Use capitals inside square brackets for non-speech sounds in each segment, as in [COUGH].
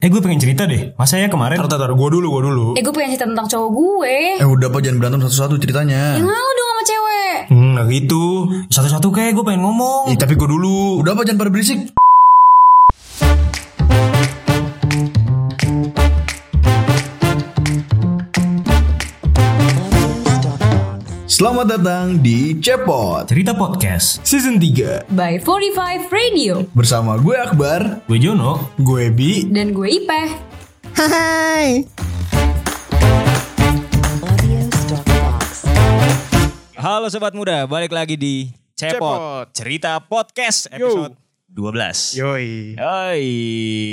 Eh gue pengen cerita deh. Masa ya kemarin Tar, tar, tar. Gue dulu, gue dulu. Eh gue pengen cerita tentang cowok gue. Eh udah pak jangan berantem satu-satu ceritanya. Yang malu dong sama cewek. Hmm, nah gitu. satu-satu kayak gue pengen ngomong. Ih, tapi gue dulu. Oh. Udah pak jangan pada berisik. Selamat datang di Cepot Cerita podcast. Season 3. By 45 Radio. bersama gue Akbar. Gue Jono. Gue Bi. Dan gue E. Ipeh. Halo sobat muda, balik lagi di Cepot, Cepot. Cerita Podcast episode 12. Yoi. Yoi.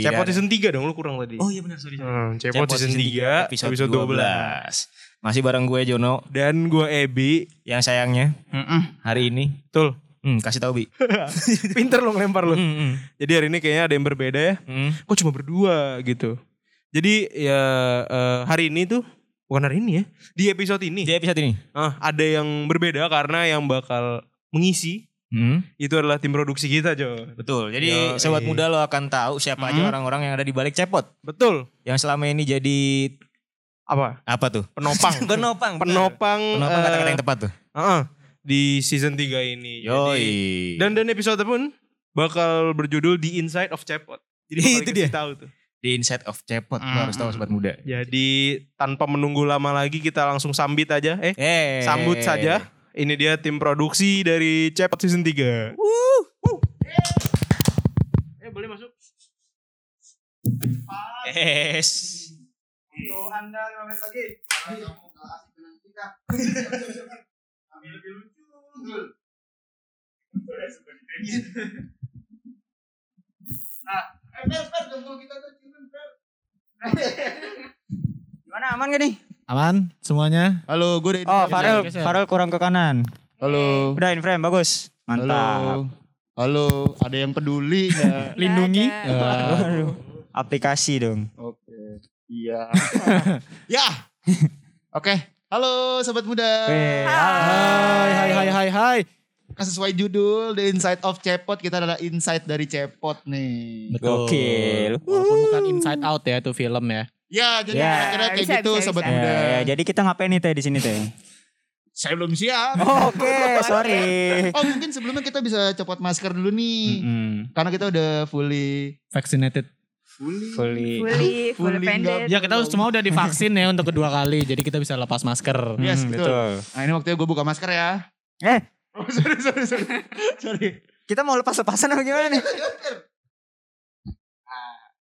Cepot Dan- season 3 dong lu kurang tadi. Oh iya benar sorry. Hmm, Cepot season 3 episode, episode 12. Masih bareng gue Jono Dan gue Ebi. yang sayangnya hari ini Betul. hmm, kasih tahu Bi. [LAUGHS] Pinter lu ngelempar lu. Hmm, Jadi hari ini kayaknya ada yang berbeda ya. hmm, hmm. Kok cuma berdua gitu. Jadi ya eh, hari ini tuh bukan hari ini ya. Di episode ini Di episode ini. eh, ada yang berbeda karena yang bakal mengisi Hmm, itu adalah tim produksi kita, Jo. betul. Jadi Yoi. sobat muda lo akan tahu siapa aja orang-orang yang ada di balik Cepot Betul. yang selama ini jadi Apa? apa tuh? Penopang. Penopang. benar. Penopang. Penopang eh, kata-kata yang tepat tuh. eh, di season 3 ini. Jadi, Yoi. Dan dan episode pun bakal berjudul The Inside of Cepot. [LAUGHS] Jadi bakal Itu dia. dikasih tahu tuh. di Inside of Cepot lo Mm, harus tahu mm, sobat muda. Jadi tanpa menunggu lama lagi kita langsung sambit aja. Eh, Eh, sambut saja. Ini dia tim produksi dari Cepot season 3. Eh, boleh masuk. Yes. Gimana aman gak nih? Aman semuanya. Halo, gue Oh, Farel, Farel kurang ke kanan. Halo. Udah in frame bagus. Mantap. Halo. Halo, ada yang peduli nggak? Lindungi. Waduh. Aplikasi dong. Oke. Iya. [LAUGHS] ya. Oke. Halo sobat muda. Weh, Hai, hai, hai, hai, hai. Kan sesuai judul The Inside of Cepot, kita adalah insight dari Cepot nih. Gokil. Walaupun bukan Inside Out ya itu film ya. Ya, jadi Ya. kira-kira kayak Bisa, gitu bisa, sobat bisa. muda. Eh, jadi kita ngapain nih teh di sini teh? Saya belum siap. Oh, Oke, sorry. Oh mungkin sebelumnya kita bisa copot masker dulu nih. Mm-mm. Karena kita udah fully Vaccinated. Fully. Fully, full Fully pendek. Ya kita semua udah divaksin ya untuk kedua kali. Jadi kita bisa lepas masker. Yes, Mm, betul. Nah ini waktunya gue buka masker ya. Eh. Oh, sorry, sorry, sorry. sorry. Kita mau lepas-lepasan apa gimana nih?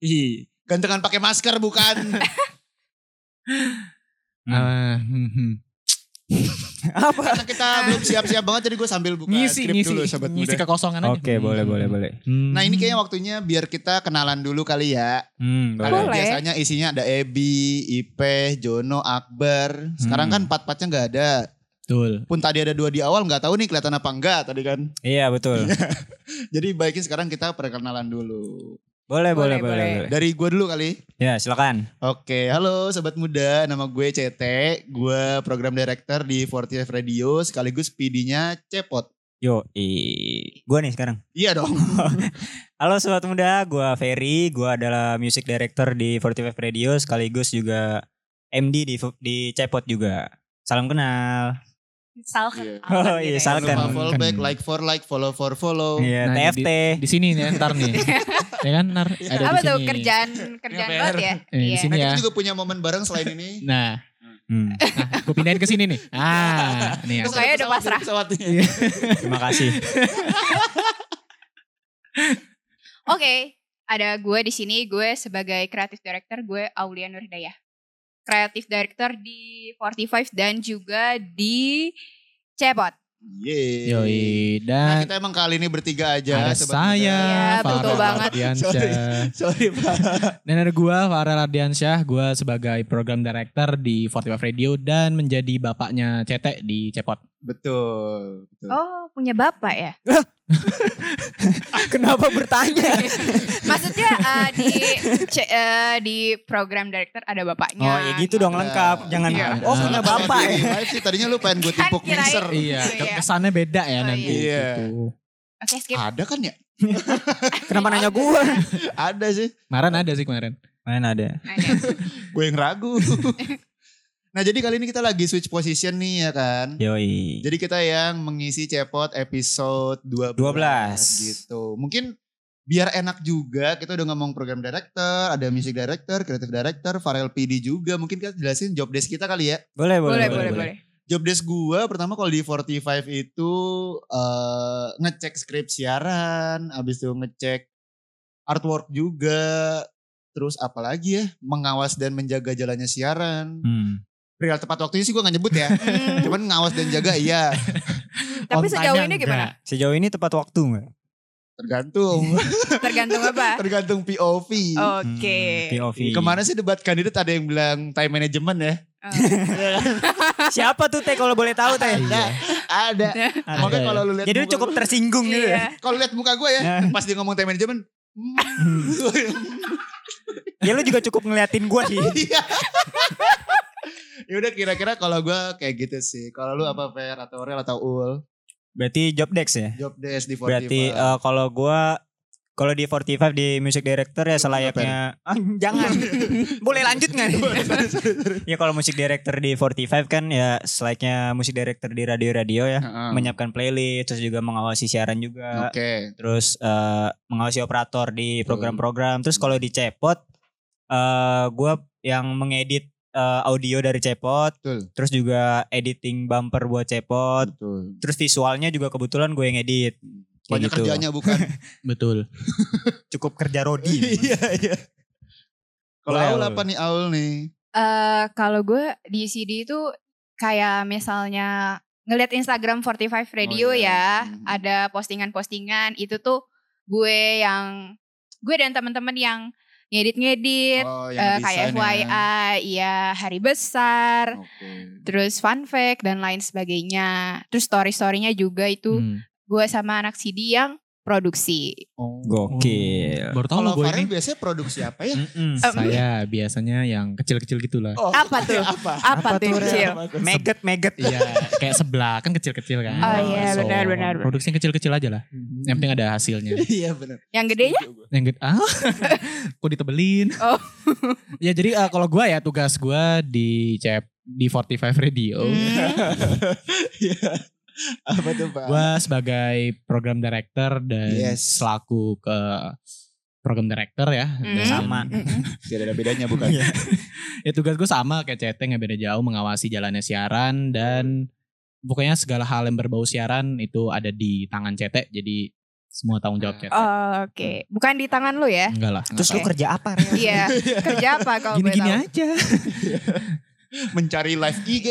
Ih, gantengan pakai masker bukan. Eh, Ah, hmm, hmm. apa? Karena kita belum siap-siap banget jadi gue sambil buka ngisi, skrip ngisi, dulu sobat ngisi muda. kekosongan aja. Oke, boleh, boleh, boleh. Hmm. Nah ini kayaknya waktunya biar kita kenalan dulu kali ya. Hmm, Karena Boleh. biasanya isinya ada Ebi, Ipe, Jono, Akbar. Sekarang Hmm. kan empat-empatnya nggak ada. Betul. Pun tadi ada dua di awal nggak tahu nih kelihatan apa enggak tadi kan. Iya, betul. Jadi baiknya sekarang kita perkenalan dulu. Boleh, boleh, Boleh, boleh. boleh. Dari gue dulu kali. Ya, silakan. Oke, halo sobat muda, nama gue CT, gue program director di 45 Radio sekaligus PD-nya Cepot. Yo, i. Gua nih sekarang. Iya dong. Halo sobat muda, gua Ferry, gua adalah music director di 45 Radio sekaligus juga MD di di Cepot juga. Salam kenal. Iya. Oh, iya, Jangan salkan. lupa follow back, like for like, follow for follow. Iya, Nah, TFT. Di sini nih ntar nih. ya kan ntar ada apa di tuh sini. kerjaan kerjaan PR. banget ya Eh, di Iya. sini Nah, ya. kita juga punya momen bareng selain ini. Nah, [LAUGHS] Hmm, gue Nah, pindahin ke sini nih. Ah, nih. ya. Terus saya udah Pesawat, pasrah. pesawat nih. terima kasih. oke ada gue di sini gue sebagai kreatif director gue Aulia Nurdaya kreatif director di 45 dan juga di Cepot Yeay. Yoi, Nah, dan kita emang kali ini bertiga aja. ada sobat saya, Nah, Iya, betul Farel banget. Ardiansyah. Muda. Sorry Pak. Dan ada gue Farel Ardiansyah, gue sebagai program director di 45 Radio dan menjadi bapaknya CT di Cepot. Betul. betul. oh punya bapak ya [LAUGHS] Kenapa bertanya? maksudnya eh, di C- eh, di program director ada bapaknya Oh, ya gitu dong lengkap. Jangan Iya. Oh, punya bapak ya. Tadi live sih, tadinya lu pengen gue Kan timpuk kirain. mixer. Iya, Gitu ya. kesannya beda ya Oh, nanti. iya. Gitu. oke skip Ada kan ya? Kenapa nanya gua? Ada sih. Kemarin ada sih kemarin. Mana ada? Ada. Gue yang ragu. [LAUGHS] nah jadi kali ini kita lagi switch position nih ya kan. Yoi. Jadi kita yang mengisi cepot episode 12. 12, gitu. Mungkin biar enak juga kita udah ngomong program director, ada music director, creative director, Farel PD juga. Mungkin kita jelasin job desk kita kali ya. Boleh, boleh, boleh, boleh, boleh. Job desk gua pertama kalau di 45 itu eh, ngecek skrip siaran, habis itu ngecek artwork juga. Terus apalagi ya, mengawas dan menjaga jalannya siaran. Hmm. Real tepat waktunya sih gua [LAUGHS] nggak nyebut ya. Cuman ngawas dan jaga iya, Hmm, Tapi On sejauh time-nya ini gimana? Sejauh ini tepat waktu nggak? tergantung. [LAUGHS] Tergantung apa? Tergantung POV. Oh. Hmm, Oke. POV. Kemana sih debat kandidat ada yang bilang time management ya? Eh, Siapa tuh Teh kalau boleh tahu Teh? Ada, ada. Ada Makanya ya. kalau lu lihat Jadi lu muka cukup tersinggung gitu ya. Nah. Iya. Kalau lihat muka gue ya, pas dia ngomong time management, [LAUGHS] Ya lu juga cukup ngeliatin gua sih. iya. ya udah kira-kira kalau gue kayak gitu sih. Kalau lu apa Fer atau Aurel atau Ul, Berarti job desk ya? job desk di 45. Berarti eh, kalau gua kalau di 45 di music director ya selayaknya ah, [LAUGHS] jangan. Boleh lanjut nggak nih? ya kalau music director di 45 kan ya selayaknya music director di radio-radio ya. Heeh. Menyiapkan playlist terus juga mengawasi siaran juga. Oke. Terus eh, mengawasi operator di program-program. Terus Hmm. kalau di Cepot eh gua yang mengedit eh, audio dari Cepot, Betul. terus juga editing bumper buat Cepot, Betul. terus visualnya juga kebetulan gue yang edit. Kayak Gitu. Banyak gitu. kerjanya [LAUGHS] bukan. Betul. Cukup kerja rodi. [LAUGHS] Iya, iya. Kalau Boleh, Aul Aul. apa nih Aul nih? Eh, kalau gue di CD itu kayak misalnya ngelihat Instagram 45 Oh, iya. Radio ya, Mhm. ada postingan-postingan itu tuh gue yang gue dan teman-teman yang ngedit-ngedit Oh, eh, desain kayak ya. FYI, iya hari besar, Oke. terus fun fact dan lain sebagainya. Terus story-storynya juga itu Hmm. gue sama anak CD yang produksi. Oh. Gokil. Baru tahu Kalau lo gue ini. Farel biasanya produksi apa ya? Mm-mm. Eh, Saya biasanya yang kecil-kecil gitulah. Oh, Apa tuh? [LAUGHS] Apa? Apa, tuh, tuh Rel? kecil? Meget, meget. Iya, kayak sebelah kan kecil-kecil kan. Oh, iya, So, benar, benar, benar. Produksi yang kecil-kecil aja lah. Yang penting ada hasilnya. Iya benar. Yang gedenya? Yang gede, ah, [LAUGHS] kok ditebelin? Oh. [LAUGHS] ya jadi eh, kalau gua ya tugas gua di cep di 45 Radio. Oh. Hmm, Apa tuh Pak? Gua sebagai program director dan eh, Yes. selaku ke program director ya. Hmm. Dan Sama. Tidak ada bedanya bukan? Iya. Ya tugas gue sama kayak CT nggak beda jauh mengawasi jalannya siaran dan pokoknya segala hal yang berbau siaran itu ada di tangan CT jadi semua tanggung jawab CT. Oke, bukan di tangan lu ya? Enggak lah. Terus lu Oh. Oke. kerja apa, Rel? [LAUGHS] Iya, kerja apa kalau boleh Gini-gini tahu? aja. [LAUGHS] Mencari live [LAUGHS] IG.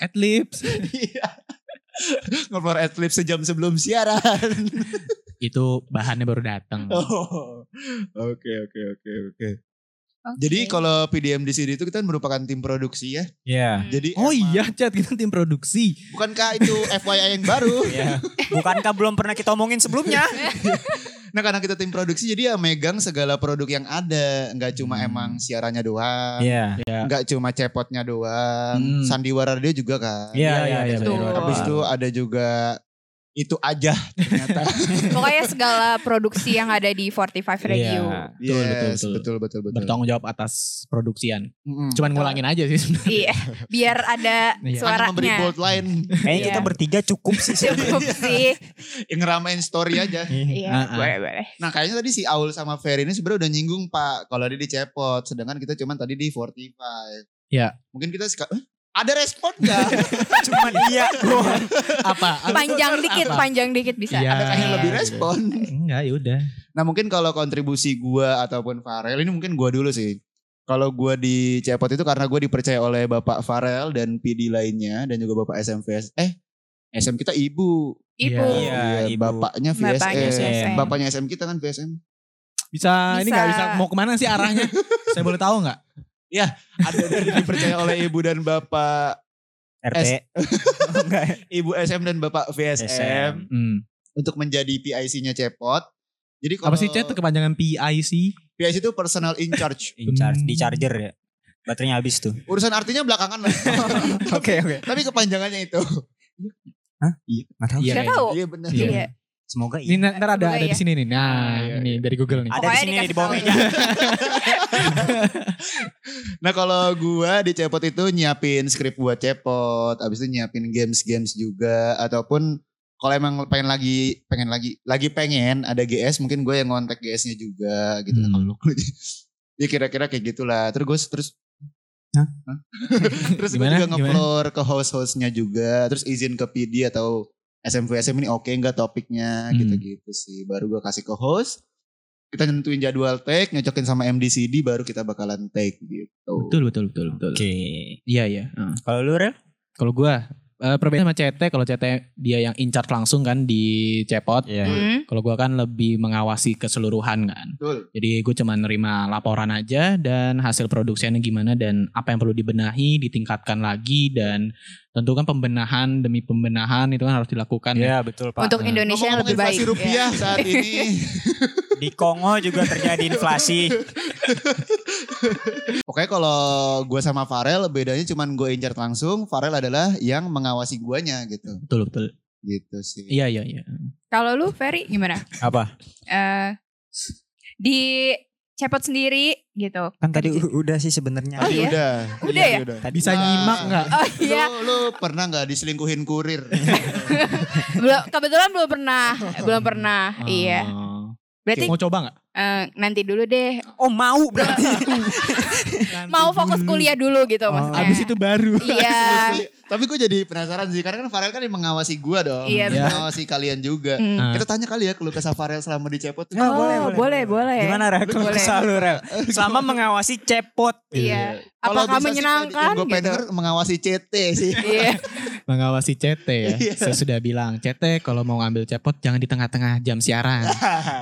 Adlibs. Iya. Ngobrol atlet sejam sebelum [LAUGHS] siaran. itu bahannya baru datang. Oh. Oke oke oke oke. Oke. Jadi kalau PDM di sini itu kita merupakan tim produksi ya. Iya. Hmm. Jadi Oh emang- iya, Chat kita tim produksi. Bukankah [LAUGHS] itu FYI yang baru? [LAUGHS] Iya. Bukankah belum pernah kita omongin sebelumnya? Nah karena kita tim produksi jadi ya megang segala produk yang ada. Nggak cuma Hmm. emang siarannya doang. Iya. Nggak cuma cepotnya doang. Hmm. Sandiwara dia juga kan. Iya, iya, iya. Betul. bener. Habis itu ada juga itu aja [LAUGHS] ternyata. Pokoknya segala produksi yang ada di Iya. 45 Radio. Betul, betul, Yes, betul. betul betul betul. Bertanggung jawab atas produksian. Mm-mm. Cuman ngulangin aja sih sebenarnya. Iya, biar ada Iya. Karena memberi suaranya. bold line, [LAUGHS] Kayaknya Iya. kita bertiga cukup sih. [LAUGHS] Cukup sih. yang ngeramein story aja. Iya, Ah, ah. boleh boleh. Nah kayaknya tadi si Aul sama Ferry ini sebenarnya udah nyinggung Pak. Kalau dia di Cepot, sedangkan kita cuman tadi di 45. Iya. Mungkin kita seka- Hah? ada respon [LAUGHS] gak? Cuman iya. doang. Apa? Panjang dikit, panjang dikit bisa. Iya. ada kayaknya Iya. lebih respon. Enggak, ya udah. Nah mungkin kalau kontribusi gua ataupun Farel ini mungkin gua dulu sih. Kalau gua di Cepot itu karena gue dipercaya oleh Bapak Farel dan PD lainnya dan juga Bapak SMVS. Eh SM kita ibu. Ibu. Iya. ibu. Bapaknya VSM. Bapaknya VSM. Bapaknya SM kita kan VSM. Bisa, ini nggak Bisa. bisa mau kemana sih arahnya? Saya boleh tahu nggak? ada dan dipercaya oleh ibu dan bapak RT. Enggak. ya? ibu SM dan bapak VSM SM. Hmm. untuk menjadi PIC-nya Cepot. Jadi kalau Apa sih Chat kepanjangan PIC? PIC itu personal in charge. In charge, Hmm. di charger ya. Baterainya habis tuh. Urusan artinya belakangan lah. Oke, oke. Tapi kepanjangannya itu. Nggak tahu. Iya. Gak kayaknya. tahu. Iya benar. Iya. Iya. Semoga Ini iya. ntar ntar ada Semoga ada ya. di sini nih. Nah, ini dari Google nih. Ada di Pokoknya kan sini dikasih di bawah tahu. meja. Nah kalau gua di cepot itu nyiapin skrip buat cepot, abis itu nyiapin games-games juga, ataupun kalau emang pengen lagi, pengen lagi, lagi pengen ada GS, mungkin gue yang ngontek GS-nya juga gitu. Hmm. Kalau lu- [LAUGHS] ya kira-kira kayak gitulah. Terus gue terus Hah? Hah? [LAUGHS] terus gue Gimana? juga nge-floor ke host-hostnya juga, terus izin ke PD atau SMV SM ini oke nggak topiknya Hmm. gitu-gitu sih. Baru gue kasih ke host, kita nentuin jadwal take, nyocokin sama MDCD baru kita bakalan take gitu. Betul betul betul betul. Oke. Iya iya. Heeh. Kalau lu Rel? Kalau gua eh, perbedaan sama CT kalau CT dia yang incar langsung kan di cepot. Iya. Iya. Hmm. Kalau gua kan lebih mengawasi keseluruhan kan. Betul. Jadi gue cuma nerima laporan aja dan hasil produksinya gimana dan apa yang perlu dibenahi, ditingkatkan lagi dan tentu kan pembenahan demi pembenahan itu kan harus dilakukan. Iya betul Pak. Untuk Indonesia yang Ngomong-ngomong lebih inflasi baik. ya. Iya. rupiah [LAUGHS] saat ini. Di Kongo juga terjadi inflasi. Pokoknya kalau gue sama Farel bedanya cuman gue incar langsung. Farel adalah yang mengawasi guanya gitu. Betul betul. Gitu sih. Iya iya iya. Kalau lu Ferry gimana? Apa? Eh, di cepot sendiri gitu. Kan tadi u- udah sih sebenarnya. Oh, Tadi iya? udah. Udah Ah, Iya, ya? udah. Tadi Bisa Nah. nyimak nggak? Oh Lu, iya, lu pernah nggak diselingkuhin [LAUGHS] kurir? belum kebetulan belum pernah, belum pernah. Iya. Oh. Berarti Mau coba nggak? eh, nanti dulu deh. Oh mau berarti. [LAUGHS] Mau fokus kuliah dulu gitu Oh. maksudnya. Abis itu baru. [LAUGHS] Iya. Tapi gue jadi penasaran sih. Karena kan Farel kan yang mengawasi gua dong. Iya, Yang Mengawasi kalian juga. Hmm. Ah. Kita tanya kali ya ke Lukas Farel selama di Cepot. Oh, boleh, Oh, boleh. boleh, boleh. Gimana Rel? Kalau Boleh. kesal lu [LAUGHS] Rel. Selama mengawasi cepot. Iya. Kalau bisa Apakah sih, menyenangkan Yang gue pengen gitu? denger mengawasi CT sih. [LAUGHS] Iya. Mengawasi CT ya. Iya. Saya sudah bilang CT kalau mau ngambil cepot jangan di tengah-tengah jam [LAUGHS] siaran.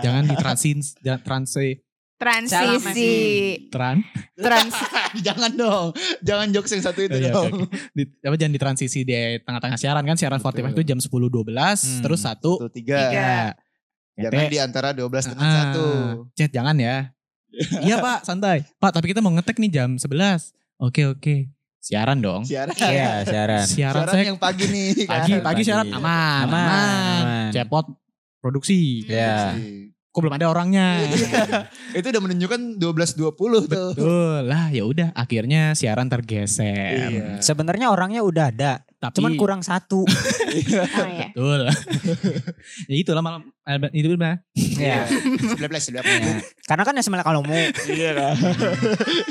jangan di transin jangan transi Transisi. tran. Trans jangan dong. Jangan jokes yang satu itu Iya, oke, dong. oke. Di- apa jangan di transisi di tengah-tengah siaran kan siaran 45 itu jam 10.12 Hmm, terus satu Satu, tiga. tiga. Jangan CT, di antara 12 dengan ah, satu. Cet jangan ya. iya Pak, santai. Pak, tapi kita mau ngetek nih jam 11. Oke, oke. Siaran dong. Siaran. Iya, siaran. Siaran, Siaran saya yang pagi nih. kan. pagi, pagi Pagi. siaran Aman, aman, aman. aman. Cepot produksi. Iya. Kok belum ada [LAUGHS] orangnya? Iya. Itu udah menunjukkan 12.20 tuh. Betul lah, ya udah akhirnya siaran tergeser. Iya. Sebenarnya orangnya udah ada, Tapi cuman kurang satu. Oh, iya. Betul. [LAUGHS] ya itulah malam eh, itu mah. Iya. Sebelah belas, sebelah belas. Iya. Karena kan ya semalam kalau mau. Iya kan.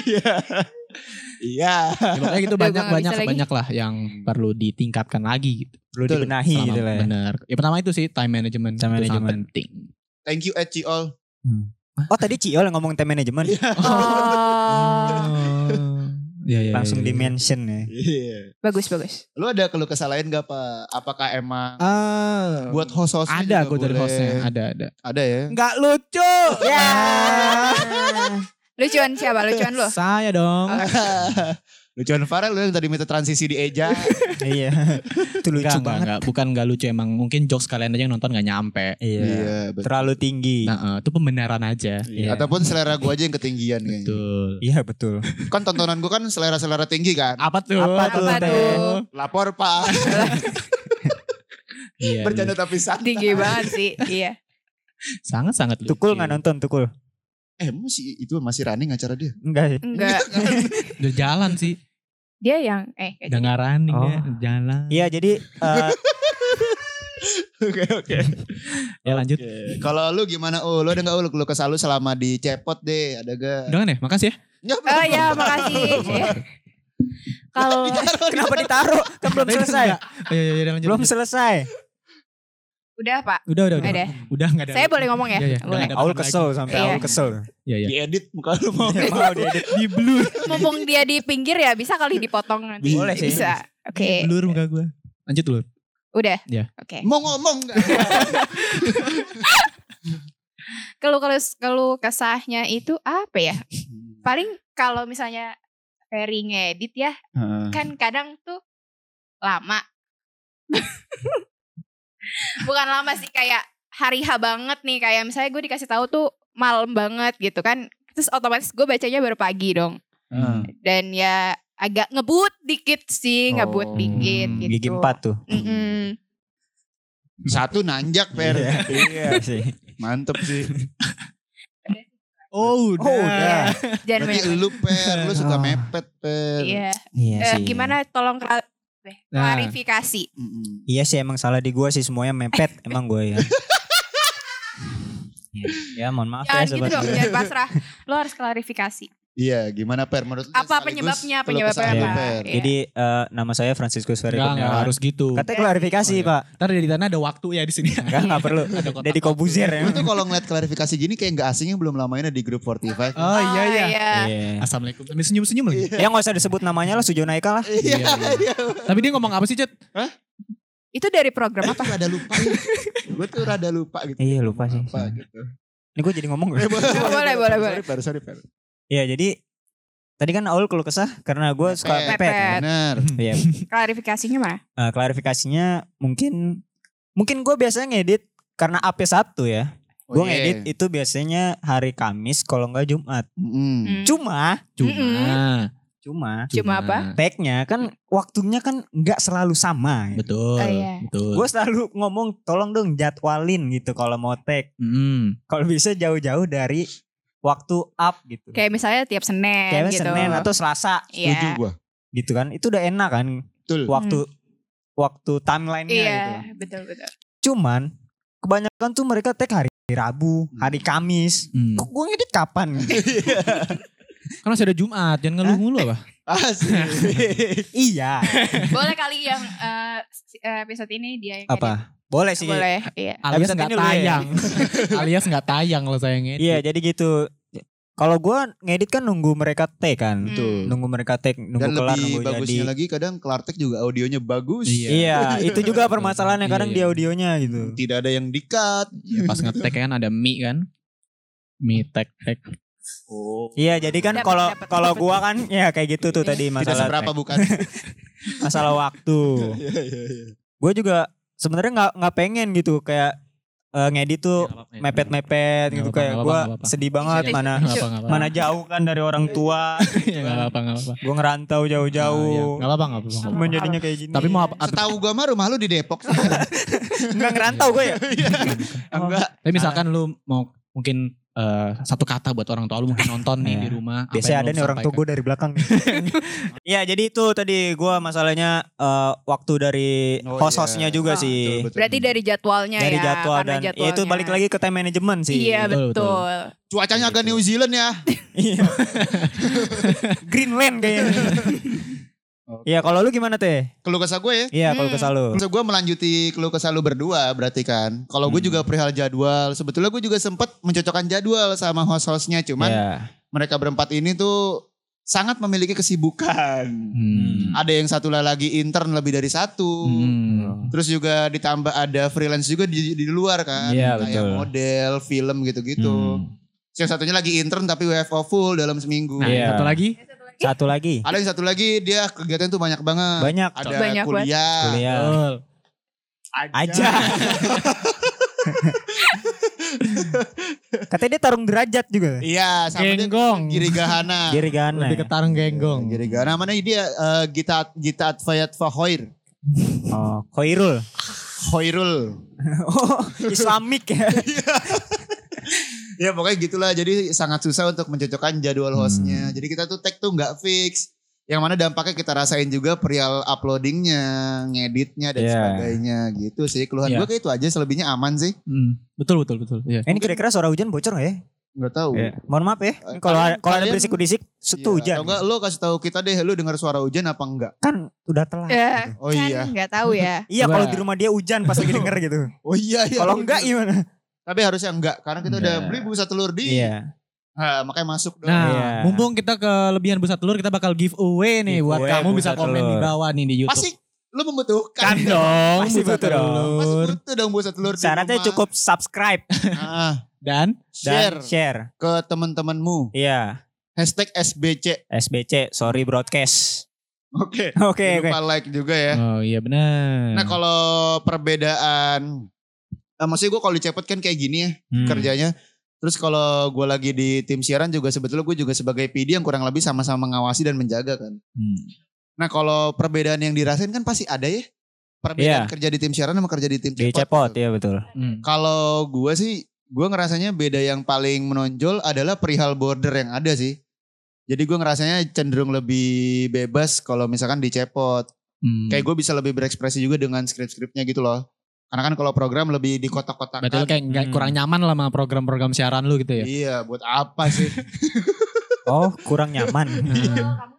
Iya. Iya. Ya, pokoknya gitu Udah, gua banyak nggak banyak bisa lagi. banyak lah yang perlu ditingkatkan lagi gitu. Perlu Betul. dibenahi Selama- gitu lah ya. Bener. Ya pertama itu sih time management. Time itu sangat management. penting. Thank you Eci All. Oh tadi Ciol yang ngomong time management. Oh. [LAUGHS] ya, ya, Langsung ya, ya. di mention ya. Iya. bagus bagus. Lu ada keluh kesah lain gak Pak? Apakah emang Ah. buat host-host ada gue dari hostnya ada ada Ada ya. Enggak lucu. Ya. Lucuan siapa? Lucuan lo. [LAUGHS] saya dong Lucuan Farel lu yang tadi minta transisi di Eja. [LAUGHS] Iya. Itu lucu Enggak, enggak, banget. enggak. bukan gak lucu emang mungkin jokes kalian aja yang nonton gak nyampe Iya. betul. Terlalu tinggi. nah eh, itu pembenaran aja Iya. Ataupun selera gua aja yang ketinggian kayaknya. betul Iya betul. Kan tontonan gua kan selera-selera tinggi kan. apa tuh Apa tuh, Apa Teh? tuh? Lapor Pak. Iya, iya. Bercanda tapi santai. Tinggi banget sih. Iya. sangat sangat lucu Tukul nggak nonton Tukul? Eh masih itu masih running acara dia. kan? Enggak sih. Enggak. [LAUGHS] udah jalan sih Dia yang eh kayak udah ngarani Oh. ya jalan Iya jadi eh, Oke oke. ya lanjut Kalau lu gimana? Oh, lu ada nggak lu keluh kesah lu selama di cepot deh? Ada gak? udah kan ya makasih ya Oh ya, makasih. Iya. Ya. Nah, Kalau Iya. kenapa ditaruh? Kan belum selesai. ya ya ya lanjut Belum lanjut. selesai. udah Pak, udah udah udah ada. udah nggak ada Saya boleh ngomong ya? Iya, iya. Boleh. Ada Aul bahan kesel sampai Iya. Gitu. Aul [LAUGHS] kesel. ya ya Diedit muka lu mau. Iya, Mau diedit di blur. Mumpung dia di pinggir ya, bisa kali dipotong nanti. Boleh sih. Bisa. Oke. blur muka gue lanjut dulu Udah. Iya. Oke. mau ngomong nggak? Kalau kalau kalau kesahnya itu apa [LAUGHS] ya? Paling kalau misalnya Ferry ngedit ya, kan kadang tuh lama. Bukan lama sih kayak hari H banget nih kayak misalnya gue dikasih tahu tuh malam banget gitu kan. Terus otomatis gue bacanya baru pagi dong. Dan ya agak ngebut dikit sih, ngebut Oh. dikit gitu. Gigi empat tuh. Mm-mm. Satu nanjak per. [LAUGHS] Iya sih. Mantep sih. Oh udah. [LAUGHS] Jangan Berarti banyak. lu per, lu suka Ah. mepet per. Iya. Iya Eh, sih. gimana tolong kla- eh, Nah. klarifikasi. Mm-mm. Iya sih emang salah di gua sih semuanya [LAUGHS] mepet emang gua ya. ya. Ya mohon maaf Jangan ya gitu sobat. dong, jangan pasrah. Lo harus klarifikasi. Iya, gimana per menurut lu sekaligus Apa penyebabnya? keluh kesah Penyebabnya lu, apa? Per? Iya. Jadi eh, nama saya Francisco Ferry Enggak, enggak Kurniawan. harus gitu. Katanya klarifikasi Oh, iya. pak. Ntar di sana ada waktu ya di sini. Enggak enggak perlu. Ada kotak Deddy Kobuzer ya. Lu Iya. tuh kalau ngeliat klarifikasi gini kayak nggak asingnya belum lama ini di grup 45. [LAUGHS] Oh iya iya. Iya. Assalamualaikum. Sambil senyum-senyum lagi. Ya nggak usah disebut namanya lah Sujo Naika lah. Iya, iya. Tapi dia ngomong apa sih, Cet? Itu dari program apa? Apa? Rada lupa. gue tuh rada lupa gitu. Iya lupa sih. Apa gitu. Ini gue jadi ngomong. Iya, Eh, Boleh, boleh, boleh. Sorry, per, sorry, per. Iya jadi tadi kan Aul keluh kesah karena gue suka Mepet. mepet. Bener. [LAUGHS] Iya. Klarifikasinya mana? Eh, klarifikasinya mungkin mungkin gue biasanya ngedit karena AP Sabtu ya. Oh, Gue iya. ngedit itu biasanya hari Kamis kalau nggak Jumat. Mm-mm. Hmm. Cuma Cuma. cuma Cuma apa? tag-nya kan waktunya kan nggak selalu sama. Ya. Betul. Oh, iya. Betul. Gue selalu ngomong tolong dong jadwalin gitu kalau mau tag. Mm. Kalau bisa jauh-jauh dari waktu up gitu. Kayak misalnya tiap Senin Kayaknya gitu. Senin atau Selasa Setuju Iya. gue. gitu kan. Itu udah enak kan Betul. waktu waktu timelinenya Iya, gitu. kan. betul [LAUGHS] betul. Cuman kebanyakan tuh mereka tag hari Rabu, hari Kamis. Mm. Kok gue ngedit kapan? [LAUGHS] Kan masih ada Jumat, jangan ngeluh Hah? mulu apa? Asik. iya. Boleh kali yang eh, si- eh, episode ini dia yang edit. Apa? Boleh sih. Boleh, iya. Alias Tapi nggak ini lu ya. tayang. Alias nggak tayang kalau saya ngedit. Iya, jadi gitu. Kalau gue ngedit kan nunggu mereka tag kan. Betul. Nunggu mereka tag, nunggu Dan kelar, lebih nunggu jadi. bagusnya lagi kadang Klartek juga audionya bagus. Iya. [LAUGHS] Iya, itu juga permasalahannya kadang Iya. di audionya gitu. Tidak ada yang dikat. Iya. Ya, pas ngetek kan ada mie kan. Mie tek tek. Iya, jadi kan Dapat, kalau dapat, kalau dapat. gua kan ya kayak gitu Iya. tuh tadi Tidak masalah seberapa [LAUGHS] bukan. masalah [LAUGHS] waktu. Iya, iya, iya. Gue juga sebenarnya nggak nggak pengen gitu kayak eh, ngedit tuh mepet-mepet Iya. gitu Nggak apa-apa, kayak nggak gua apa-apa, nggak apa-apa. sedih banget Iya, mana Nggak apa nggak apa. [LAUGHS] mana jauh kan dari orang tua. Nggak apa nggak apa. Gua ngerantau jauh-jauh. Nah, iya. Nggak apa nggak apa. nggak apa. Cuman jadinya kayak gini. Tapi mau apa? Setahu gue mah rumah lu di Depok. nggak ngerantau gue [LAUGHS] ya? Iya. Enggak. Tapi misalkan lu mau mungkin eh, satu kata buat orang tua lu mungkin nonton nih Iya. di rumah. apa Biasanya yang ada lu nih orang tua sampaikan. gue dari belakang. [LAUGHS] Iya, jadi itu tadi gua masalahnya eh, waktu dari Oh, host-hostnya iya. juga Ah, sih. Betul, betul. Berarti dari jadwalnya dari ya. jadwal karena dan ya itu jadwalnya. balik lagi ke time management sih. Iya, Betul, betul. [LAUGHS] cuacanya Gitu. agak New Zealand ya. Iya. Greenland [LAUGHS] kayaknya. Oke. Iya, kalau lu gimana teh? Keluh kesah gue ya. Iya, kalau Hmm. kesal lu. Maksud gue melanjuti keluh kesah lu berdua berarti kan. Kalau gue Hmm. juga perihal jadwal. Sebetulnya gue juga sempet mencocokkan jadwal sama host-hostnya. Cuman Iya. mereka berempat ini tuh sangat memiliki kesibukan. Hmm. Ada yang satu lagi intern lebih dari satu. Hmm. Terus juga ditambah ada freelance juga di, di luar kan. Iya, Kayak betul. Hmm. model, film gitu-gitu. Yang satunya lagi intern tapi WFO full dalam seminggu. Nah, Iya. satu lagi. Satu lagi. Ada yang satu lagi dia kegiatan tuh banyak Ah. banget. Banyak Ada Banyak banget. kuliah. kuliah Betul. aja. [LAUGHS] Katanya dia tarung derajat juga. Iya, sama dia Genggong. Giri Gahana. Kiri Nah. gitu. kanan. Lebih ke tarung genggong. Giri Gahana mana dia eh, Gita Gita Fayat Fahoir. Oh, Khairul. Hoirul. [LAUGHS] Oh, Islamik ya. Ya pokoknya gitulah. Jadi sangat susah untuk mencocokkan jadwal hostnya. Jadi kita tuh tag tuh nggak fix. Yang mana dampaknya kita rasain juga perihal uploadingnya, ngeditnya dan Iya. sebagainya gitu sih. Keluhan Iya. gue kayak itu aja. Selebihnya aman sih. Hmm. Betul betul betul. Iya. Eh, Ini kira-kira suara hujan bocor gak ya? Nggak tahu. Mohon maaf ya. Ini Kalau Kalian- kalau ada kalian- berisik-berisik, Iya, setu hujan. Atau enggak lo kasih tahu kita deh lu dengar suara hujan apa enggak? Kan udah telat. Eh, Oh kan iya. nggak tahu [LAUGHS] ya. Iya, Coba. kalau di rumah dia hujan pas lagi denger gitu. Oh iya iya. Kalau enggak gimana? Tapi harusnya enggak karena kita udah beli busa telur di. Ah, makanya masuk dong. Nah, Iya. mumpung kita kelebihan busa telur, kita bakal giveaway nih buat Giveaway kamu busa bisa komen di telur. bawah nih di YouTube. Pasti lu membutuhkan. kan dong, Pasti busa butuh dong. Masih telur. butuh dong busa telur di Syaratnya rumah. cukup subscribe Ah, dan Dan share share. ke teman-temanmu. Iya, Hashtag SBC. SBC, sorry broadcast. Oke. Oke, oke. Hmm. Lupa like juga ya. Oh iya benar. Nah kalau perbedaan. Nah, maksudnya gue kalau di Cepet kan kayak gini ya Hmm. kerjanya. Terus kalau gue lagi di tim siaran juga sebetulnya gue juga sebagai PD yang kurang lebih sama-sama mengawasi dan menjaga kan. Hmm. Nah kalau perbedaan yang dirasain kan pasti ada ya. Perbedaan Iya. kerja di tim siaran sama kerja di tim Di cepot. cepot gitu. ya betul. Kalau gue sih, gue ngerasanya beda yang paling menonjol adalah perihal border yang ada sih. Jadi gue ngerasanya cenderung lebih bebas kalau misalkan di cepot. Hmm. Kayak gue bisa lebih berekspresi juga dengan skrip-skripnya gitu loh. Karena kan kalau program lebih di kotak-kotakan. Berarti lu kayak nggak- Hmm. kurang nyaman lah sama program-program siaran lu gitu ya. Iya, buat apa sih? Oh kurang nyaman. [LAUGHS] Iya.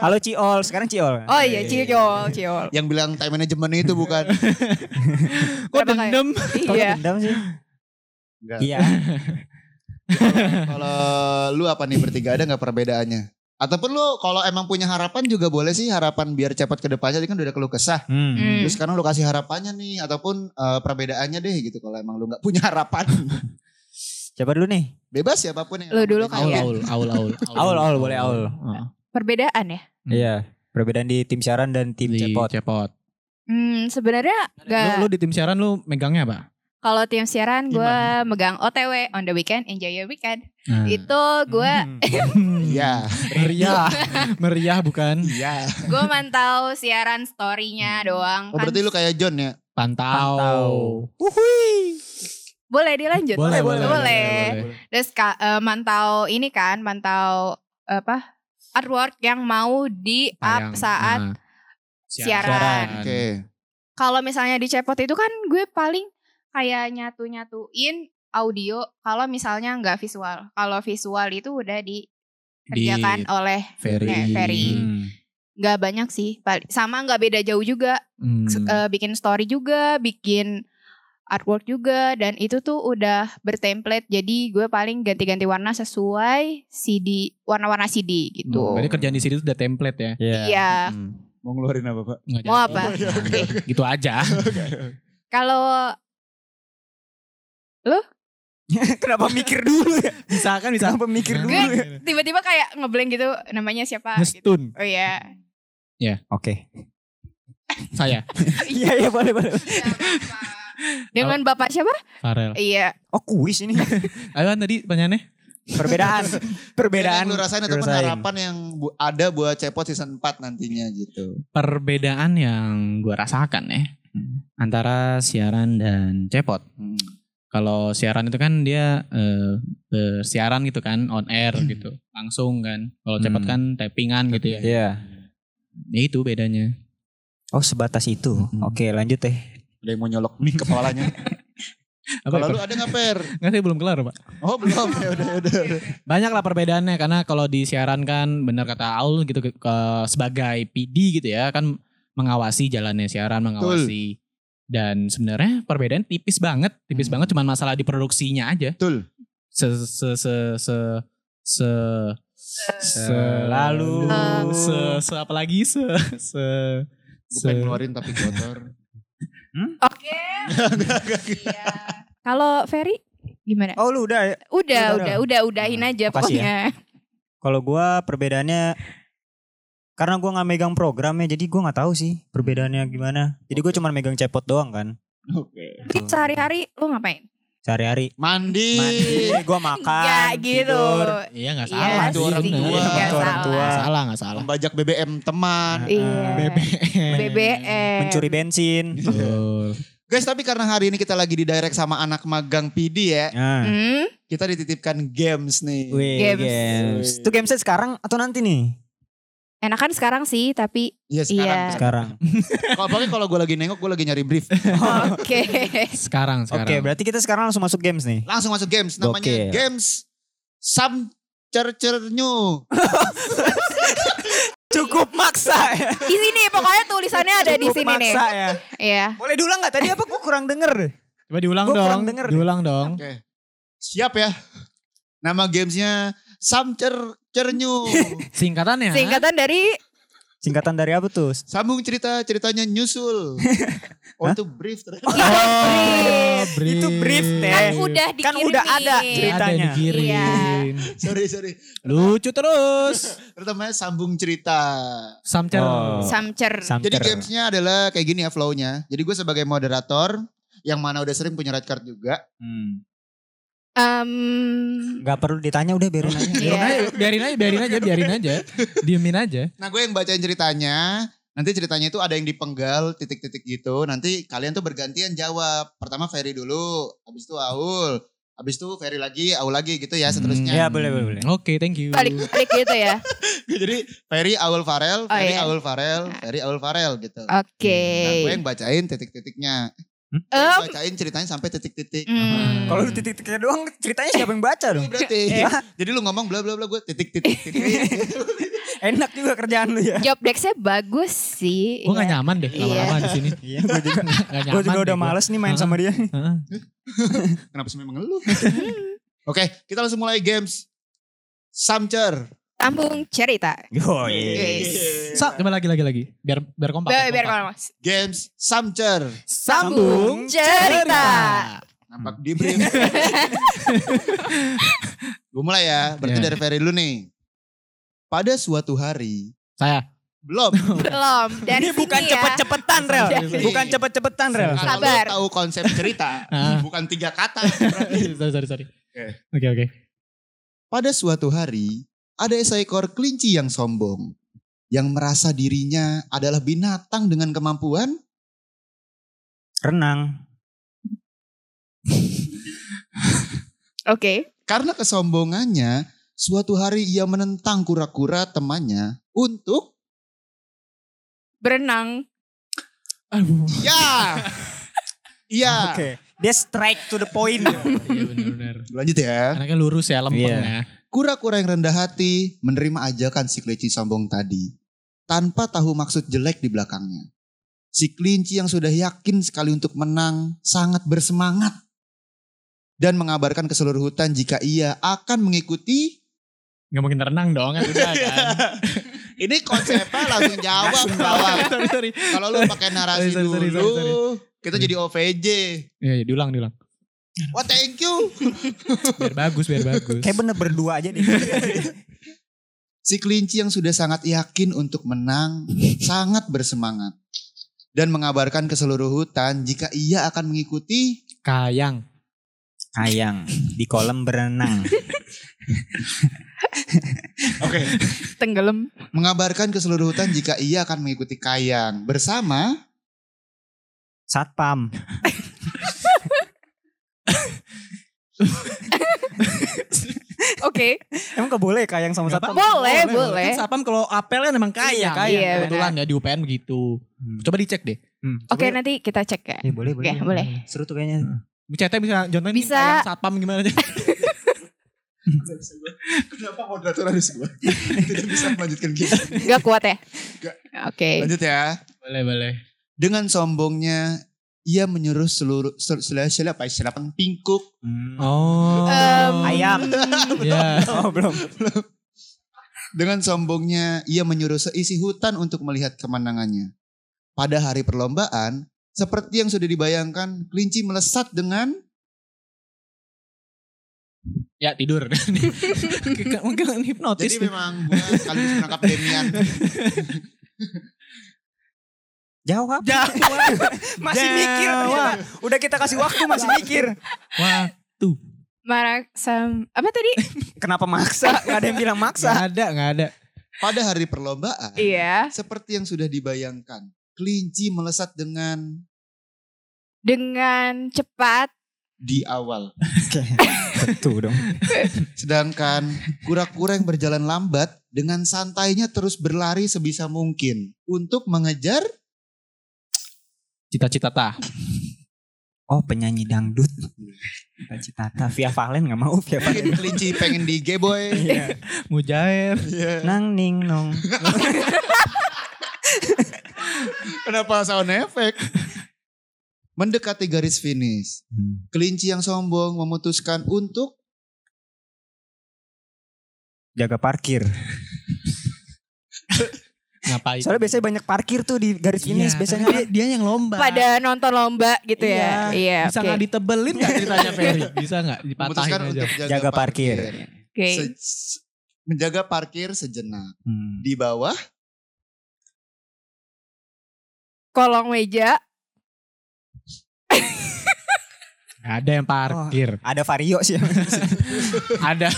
Halo Ciol, sekarang Ciol. Oh iya, ciol, [LAUGHS] ciol. yang bilang time management itu bukan. Kok Berapa kali? dendam? Iya. Dendam [LAUGHS] sih. Enggak. Iya. Kalau lu apa nih bertiga ada nggak perbedaannya? Ataupun lu kalau emang punya harapan juga boleh sih harapan biar cepat ke depannya tadi kan udah ada keluh kesah. Hmm. Hmm. Terus sekarang lu kasih harapannya nih ataupun eh, perbedaannya deh gitu kalau emang lu nggak punya harapan. [LAUGHS] Siapa dulu nih? Bebas siapapun yang. Lu Aul, dulu kali ya. aul, aul, aul. [LAUGHS] Aul, aul, boleh aul. Heeh. Perbedaan ya. Hmm. Iya. Perbedaan di tim siaran dan tim Di cepot. cepot. Hmm, sebenarnya Lu, gak. lu di tim siaran lu megangnya apa? Kalau tim siaran gue megang OTW on the weekend, enjoy your weekend. Hmm. Itu gue Hmm. Iya. Hmm. meriah, meriah bukan? Iya. gue mantau siaran story-nya doang. Oh, kan. berarti lu kayak John ya? Pantau. boleh dilanjut. Boleh, boleh, boleh, boleh. Terus ka- eh, mantau ini kan, mantau apa? artwork yang mau di Tayang. up saat Nah, siaran. Oke. kalau misalnya di cepot itu kan gue paling kayak nyatu-nyatuin audio kalau misalnya nggak visual. Kalau visual itu udah dikerjakan oleh Ferry. eh, Ferry. Hmm. nggak banyak sih. Pal- Sama nggak beda jauh juga. Hmm. S- eh, bikin story juga, bikin artwork juga dan itu tuh udah bertemplate jadi gue paling ganti-ganti warna sesuai CD warna-warna Oh, CD Hmm, gitu. Berarti kerjaan di sini tuh udah template ya. Iya. Hmm. Mau ngeluarin apa pak? Nggak Mau jadi. apa? gitu aja. Kalau [LAUGHS] Kenapa mikir dulu ya? Bisa kan bisa apa mikir Nah. dulu. Gue- ya? tiba-tiba kayak ngeblank gitu namanya siapa gitu. Ngestun Oh iya. Oke. saya Iya iya boleh boleh. Dengan bapak siapa? Farel. Iya. Oh kuis ini. Ayo kan tadi pertanyaannya. Perbedaan. [LAUGHS] Perbedaan. Iya, Yang lu rasain lu ataupun rasain. harapan yang bu- ada buat Cepot season 4 nantinya gitu. Perbedaan yang gue rasakan ya antara siaran dan cepot. Kalau siaran itu kan dia eh, bersiaran gitu kan on air gitu langsung kan. Kalau cepot Hmm. kan tappingan gitu ya. Iya. Ya itu bedanya. Oh sebatas itu. Mm-mm. Oke lanjut deh. Ada yang mau nyolok mie kepalanya. Apa ya, kalau Lalu, lu ada nggak per? nggak saya belum kelar pak. Oh [LAUGHS] belum ya udah udah. udah. Banyak lah perbedaannya karena kalau di siaran kan benar kata Aul gitu ke, ke- sebagai PD gitu ya kan mengawasi jalannya siaran mengawasi dan sebenarnya perbedaan tipis banget tipis banget cuman masalah di produksinya aja. Betul. se se se se se Selalu. se se apa lagi se se Gue se- pengen ngeluarin tapi [LAUGHS] kotor. Oke. Iya. Kalau Ferry gimana? Oh lu udah. ya? Udah, udah, Nah, udah, udah, udahin Makasih aja ya. pokoknya. Kalau gua perbedaannya karena gua nggak megang programnya jadi gua nggak tahu sih perbedaannya gimana. Jadi gua cuma megang cepot doang kan Oke. Mungkin sehari-hari lu ngapain? sehari-hari. Mandi. Mandi, gua makan. Enggak gitu. tidur. iya nggak Iya salah orang sih, tua iya, nggak Iya, orang tua. salah. salah nggak salah Membajak BBM Nah. teman. Iya. BBM. Mencuri bensin. Betul. Guys tapi karena hari ini kita lagi di direct sama anak magang PD ya. Nah. Hmm? Kita dititipkan games nih. Wih, Games. games. Itu gamesnya sekarang atau nanti nih? Enakan sekarang sih, tapi [LAUGHS] Iya sekarang. Iya. Sekarang. Kalau apalagi kalau gue lagi nengok gue lagi nyari brief. oke. sekarang Oke, sekarang berarti kita sekarang langsung masuk games nih. Langsung masuk games. Namanya Gokil. games. Sam Cercernyu. Cukup maksa ya. Di sini pokoknya tulisannya ada di Cukup sini nih. maksa ya. Iya. Boleh diulang nggak tadi apa gue kurang denger? coba diulang Gua dong kurang denger. diulang dong Oke. Siap ya. Nama gamesnya Sam Cercernyu. Ya. singkatannya Singkatan dari Singkatan dari apa tuh? Sambung cerita ceritanya nyusul. Oh itu brief ternyata. [LAUGHS] Oh, brief. Itu brief, Teh. kan udah dikirimin. Kan udah ada cerita. ada ceritanya. dikirim Iya. sorry sorry. lucu terus Pertamanya sambung cerita. samcer Oh. Samcer. Samter. Jadi gamesnya adalah kayak gini ya flow-nya. Jadi gue sebagai moderator yang mana udah sering punya red card juga. Hmm. Em, Gak perlu ditanya udah biarin aja. iya. biarin aja biarin aja biarin aja biarin aja diemin aja Nah gue yang bacain ceritanya. Nanti ceritanya itu ada yang dipenggal titik-titik gitu. Nanti kalian tuh bergantian jawab. Pertama Ferry dulu, habis itu Aul, habis itu Ferry lagi, Aul lagi gitu ya seterusnya. Ya boleh boleh boleh. Oke, thank you. balik balik gitu ya. [LAUGHS] Jadi Ferry Aul Farel, Oh, Ferry iya. Aul Farel, Ferry Aul Farel gitu. Oke. Iya, Oh. Nah, gue yang bacain titik-titiknya. Gue yang Em, bacain ceritanya sampai titik-titik. hmm. Kalau lu titik-tiknya doang ceritanya siapa yang baca dong? Itu [LAUGHS] Berarti. Iya. Jadi lu ngomong bla bla bla gue titik-titik titik. Enak juga kerjaan lu ya. Job desk saya bagus sih. Gue gak Iya. nyaman deh lama-lama di sini. Iya, gue [LAUGHS] juga. Gak nyaman. Gue juga deh udah gua. males nih main sama dia. Heeh. Kenapa sih memang lu? [LAUGHS] Oke, kita langsung mulai games. Samcer. Sambung cerita. Oh Iya. Yes. Sa, coba lagi lagi lagi. Biar biar kompak. Biar biar kalau mas. Games Samcer. Sambung cerita. Hmm. Nampak di [LAUGHS] brief. gue mulai ya. Berarti Iya. dari Ferry dulu nih. Pada suatu hari. Saya. Belum. [LAUGHS] Belum. Dan Ini bukan sini ya. cepet-cepetan Rel. Dari- Bukan cepet-cepetan Rel. Kalau Sabar. lu tahu konsep cerita. Ah. bukan tiga kata. sorry sorry sorry. Oke oke. Pada suatu hari, ada seekor kelinci yang sombong yang merasa dirinya adalah binatang dengan kemampuan Renang. Oke. karena kesombongannya suatu hari ia menentang kura-kura temannya untuk Berenang. [LAUGHS] ya iya Oke. Dia strike to the point. Iya benar-benar. lanjut ya Anaknya lurus ya, lempeng Iya. ya. kura-kura yang rendah hati menerima ajakan si kelinci sombong tadi tanpa tahu maksud jelek di belakangnya si kelinci yang sudah yakin sekali untuk menang sangat bersemangat dan mengabarkan ke seluruh hutan jika ia akan mengikuti Gak mungkin renang dong, kan udah kan. [LAUGHS] Ini konsepnya langsung jawab bawah. [LAUGHS] sorry sorry. Kalau lu pakai narasi Sorry, sorry, sorry, dulu, sorry, kita jadi OVJ. Iya, iya, diulang diulang. Wah thank you. Biar bagus, biar bagus. Kayak bener berdua aja deh. Si kelinci yang sudah sangat yakin untuk [LAUGHS] menang, sangat bersemangat. Dan mengabarkan ke seluruh hutan jika ia akan mengikuti Kayang. Ayang di kolam berenang. Tenggelam. mengabarkan ke seluruh hutan jika ia akan mengikuti Kayang bersama Satpam. Oke. Emang gak boleh kayang sama Nggak satpam? apa-apa. Boleh, boleh. Kan sapam kalau apelnya memang kaya, Iya, kaya. iya, Kebetulan ya di UPN begitu. Hmm. Coba dicek deh. Hmm. Oke nanti kita cek ya. Ya, boleh, boleh. Oke, boleh. Seru tuh kayaknya. Bu Cete bisa contohin nih, Bisa. kayang satpam gimana aja. Kenapa moderator harus [LAUGHS] gue? Tidak bisa melanjutkan gitu. Gak kuat ya. Nggak. Oke. Lanjut ya. boleh, boleh. Dengan sombongnya ia menyuruh seluruh sel- sel- sel- apa selapan pingkuk Hmm. Oh. Em, [LAUGHS] Ayam. Iya. Oh belum. Dengan sombongnya, ia menyuruh seisi hutan untuk melihat kemenangannya. Pada hari perlombaan, seperti yang sudah dibayangkan, kelinci melesat dengan Ya tidur. [LAUGHS] Kayak Mungkin hipnotis. jadi memang gua kali ini menangkap Demian. Jawab. [LAUGHS] masih mikir. ternyata. Udah kita kasih waktu masih mikir. Wah, Marak sam apa tadi? Kenapa maksa? Gak ada yang bilang nggak maksa. ada, nggak ada. Pada hari perlombaan, Iya. seperti yang sudah dibayangkan, kelinci melesat dengan Dengan cepat. di awal. Tentu dong. Sedangkan kura-kura yang berjalan lambat dengan santainya terus berlari sebisa mungkin untuk mengejar Cita-cita tah. Oh penyanyi dangdut. Cita-cita Via Valen gak mau Via Valen. mungkin kelinci pengen di Iya. geboy. Mujair. [LAUGHS] Nang ning nong. Kenapa sound effect? [LAUGHS] Mendekati garis finish, kelinci yang sombong memutuskan untuk Jaga parkir. Ngapain? Soalnya biasanya banyak parkir tuh di garis Iya, finish [LAUGHS] biasanya. tapi dia, dia yang lomba. Pada nonton lomba gitu ya. Iya. Bisa Oke. nggak ditebelin nggak ceritanya Ferry? [LAUGHS] Bisa nggak dipatahin memutuskan aja? untuk jaga, Jaga parkir. Oke. Se- se- menjaga parkir sejenak Hmm. di bawah Kolong meja. Nggak ada yang parkir. Ada vario sih. Ada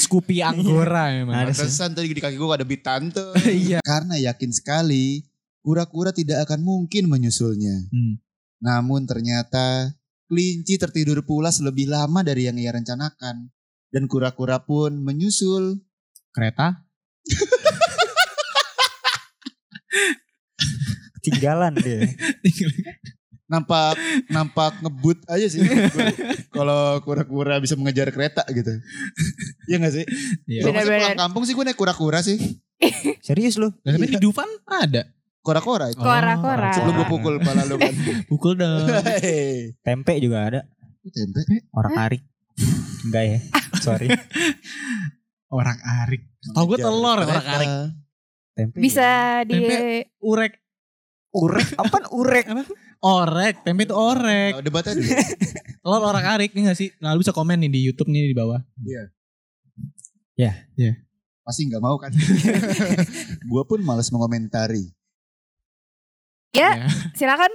Scoopy Anggora memang. Ada sih. Pantesan tadi di kaki gue ada bitante Iya. karena yakin sekali Kura-kura tidak akan mungkin menyusulnya. Hmm. Namun ternyata kelinci tertidur pulas lebih lama dari yang ia rencanakan. Dan kura-kura pun menyusul. Kereta? Ketinggalan deh. Nampak nampak ngebut aja [LAUGHS] sih. Kalau kura-kura bisa mengejar kereta gitu. [LAUGHS] Iya gak sih? Iya. Kalau masih Benar-benar. pulang kampung sih gue naik kura-kura sih. Serius lu? Dan tapi di Dufan ada. Oh. Kura-kura itu. Kora-kora. Sebelum gue pukul pala lu kan. Pukul dong. [LAUGHS] Hei. Tempe juga ada. Tempe. Orang arik. Enggak ya. Sorry. Orang arik. Tau gue Mengejar telur kereta. orang arik. Tempe. Bisa di Urek. [LAUGHS] Urek. Apaan urek? Orek. Tempe itu orek. Oh, debatnya dulu. Telur orang arik. Ini gak sih? Nah lu bisa komen nih di Youtube nih di bawah. Pasti nggak mau [LAUGHS] kan. gue pun males mengomentari. Ya, silakan.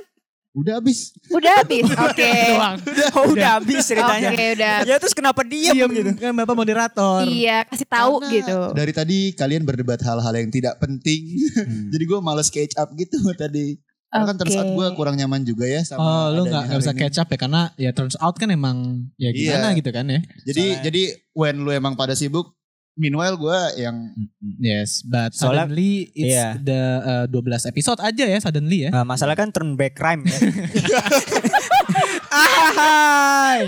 Udah habis. Udah habis. Oke. Doang. Oh, [LAUGHS] udah habis ceritanya. Oke, udah. Ya terus kenapa diam Diam gitu? kan bapak moderator. Iya, kasih tahu Karena gitu. Dari tadi kalian berdebat hal-hal yang tidak penting. Hmm. [LAUGHS] Jadi gue males catch up gitu tadi. Karena kan terus Oke. gue kurang nyaman juga ya sama Oh lu adanya gak, hari bisa ini. catch up ya karena ya turns out kan emang ya gimana Iya. gitu kan ya. Jadi Soalnya- jadi when lu emang pada sibuk meanwhile gue yang Yes, but Soalnya- suddenly it's iya. the uh, 12 episode aja ya suddenly ya. Nah, masalah kan turn back crime ya.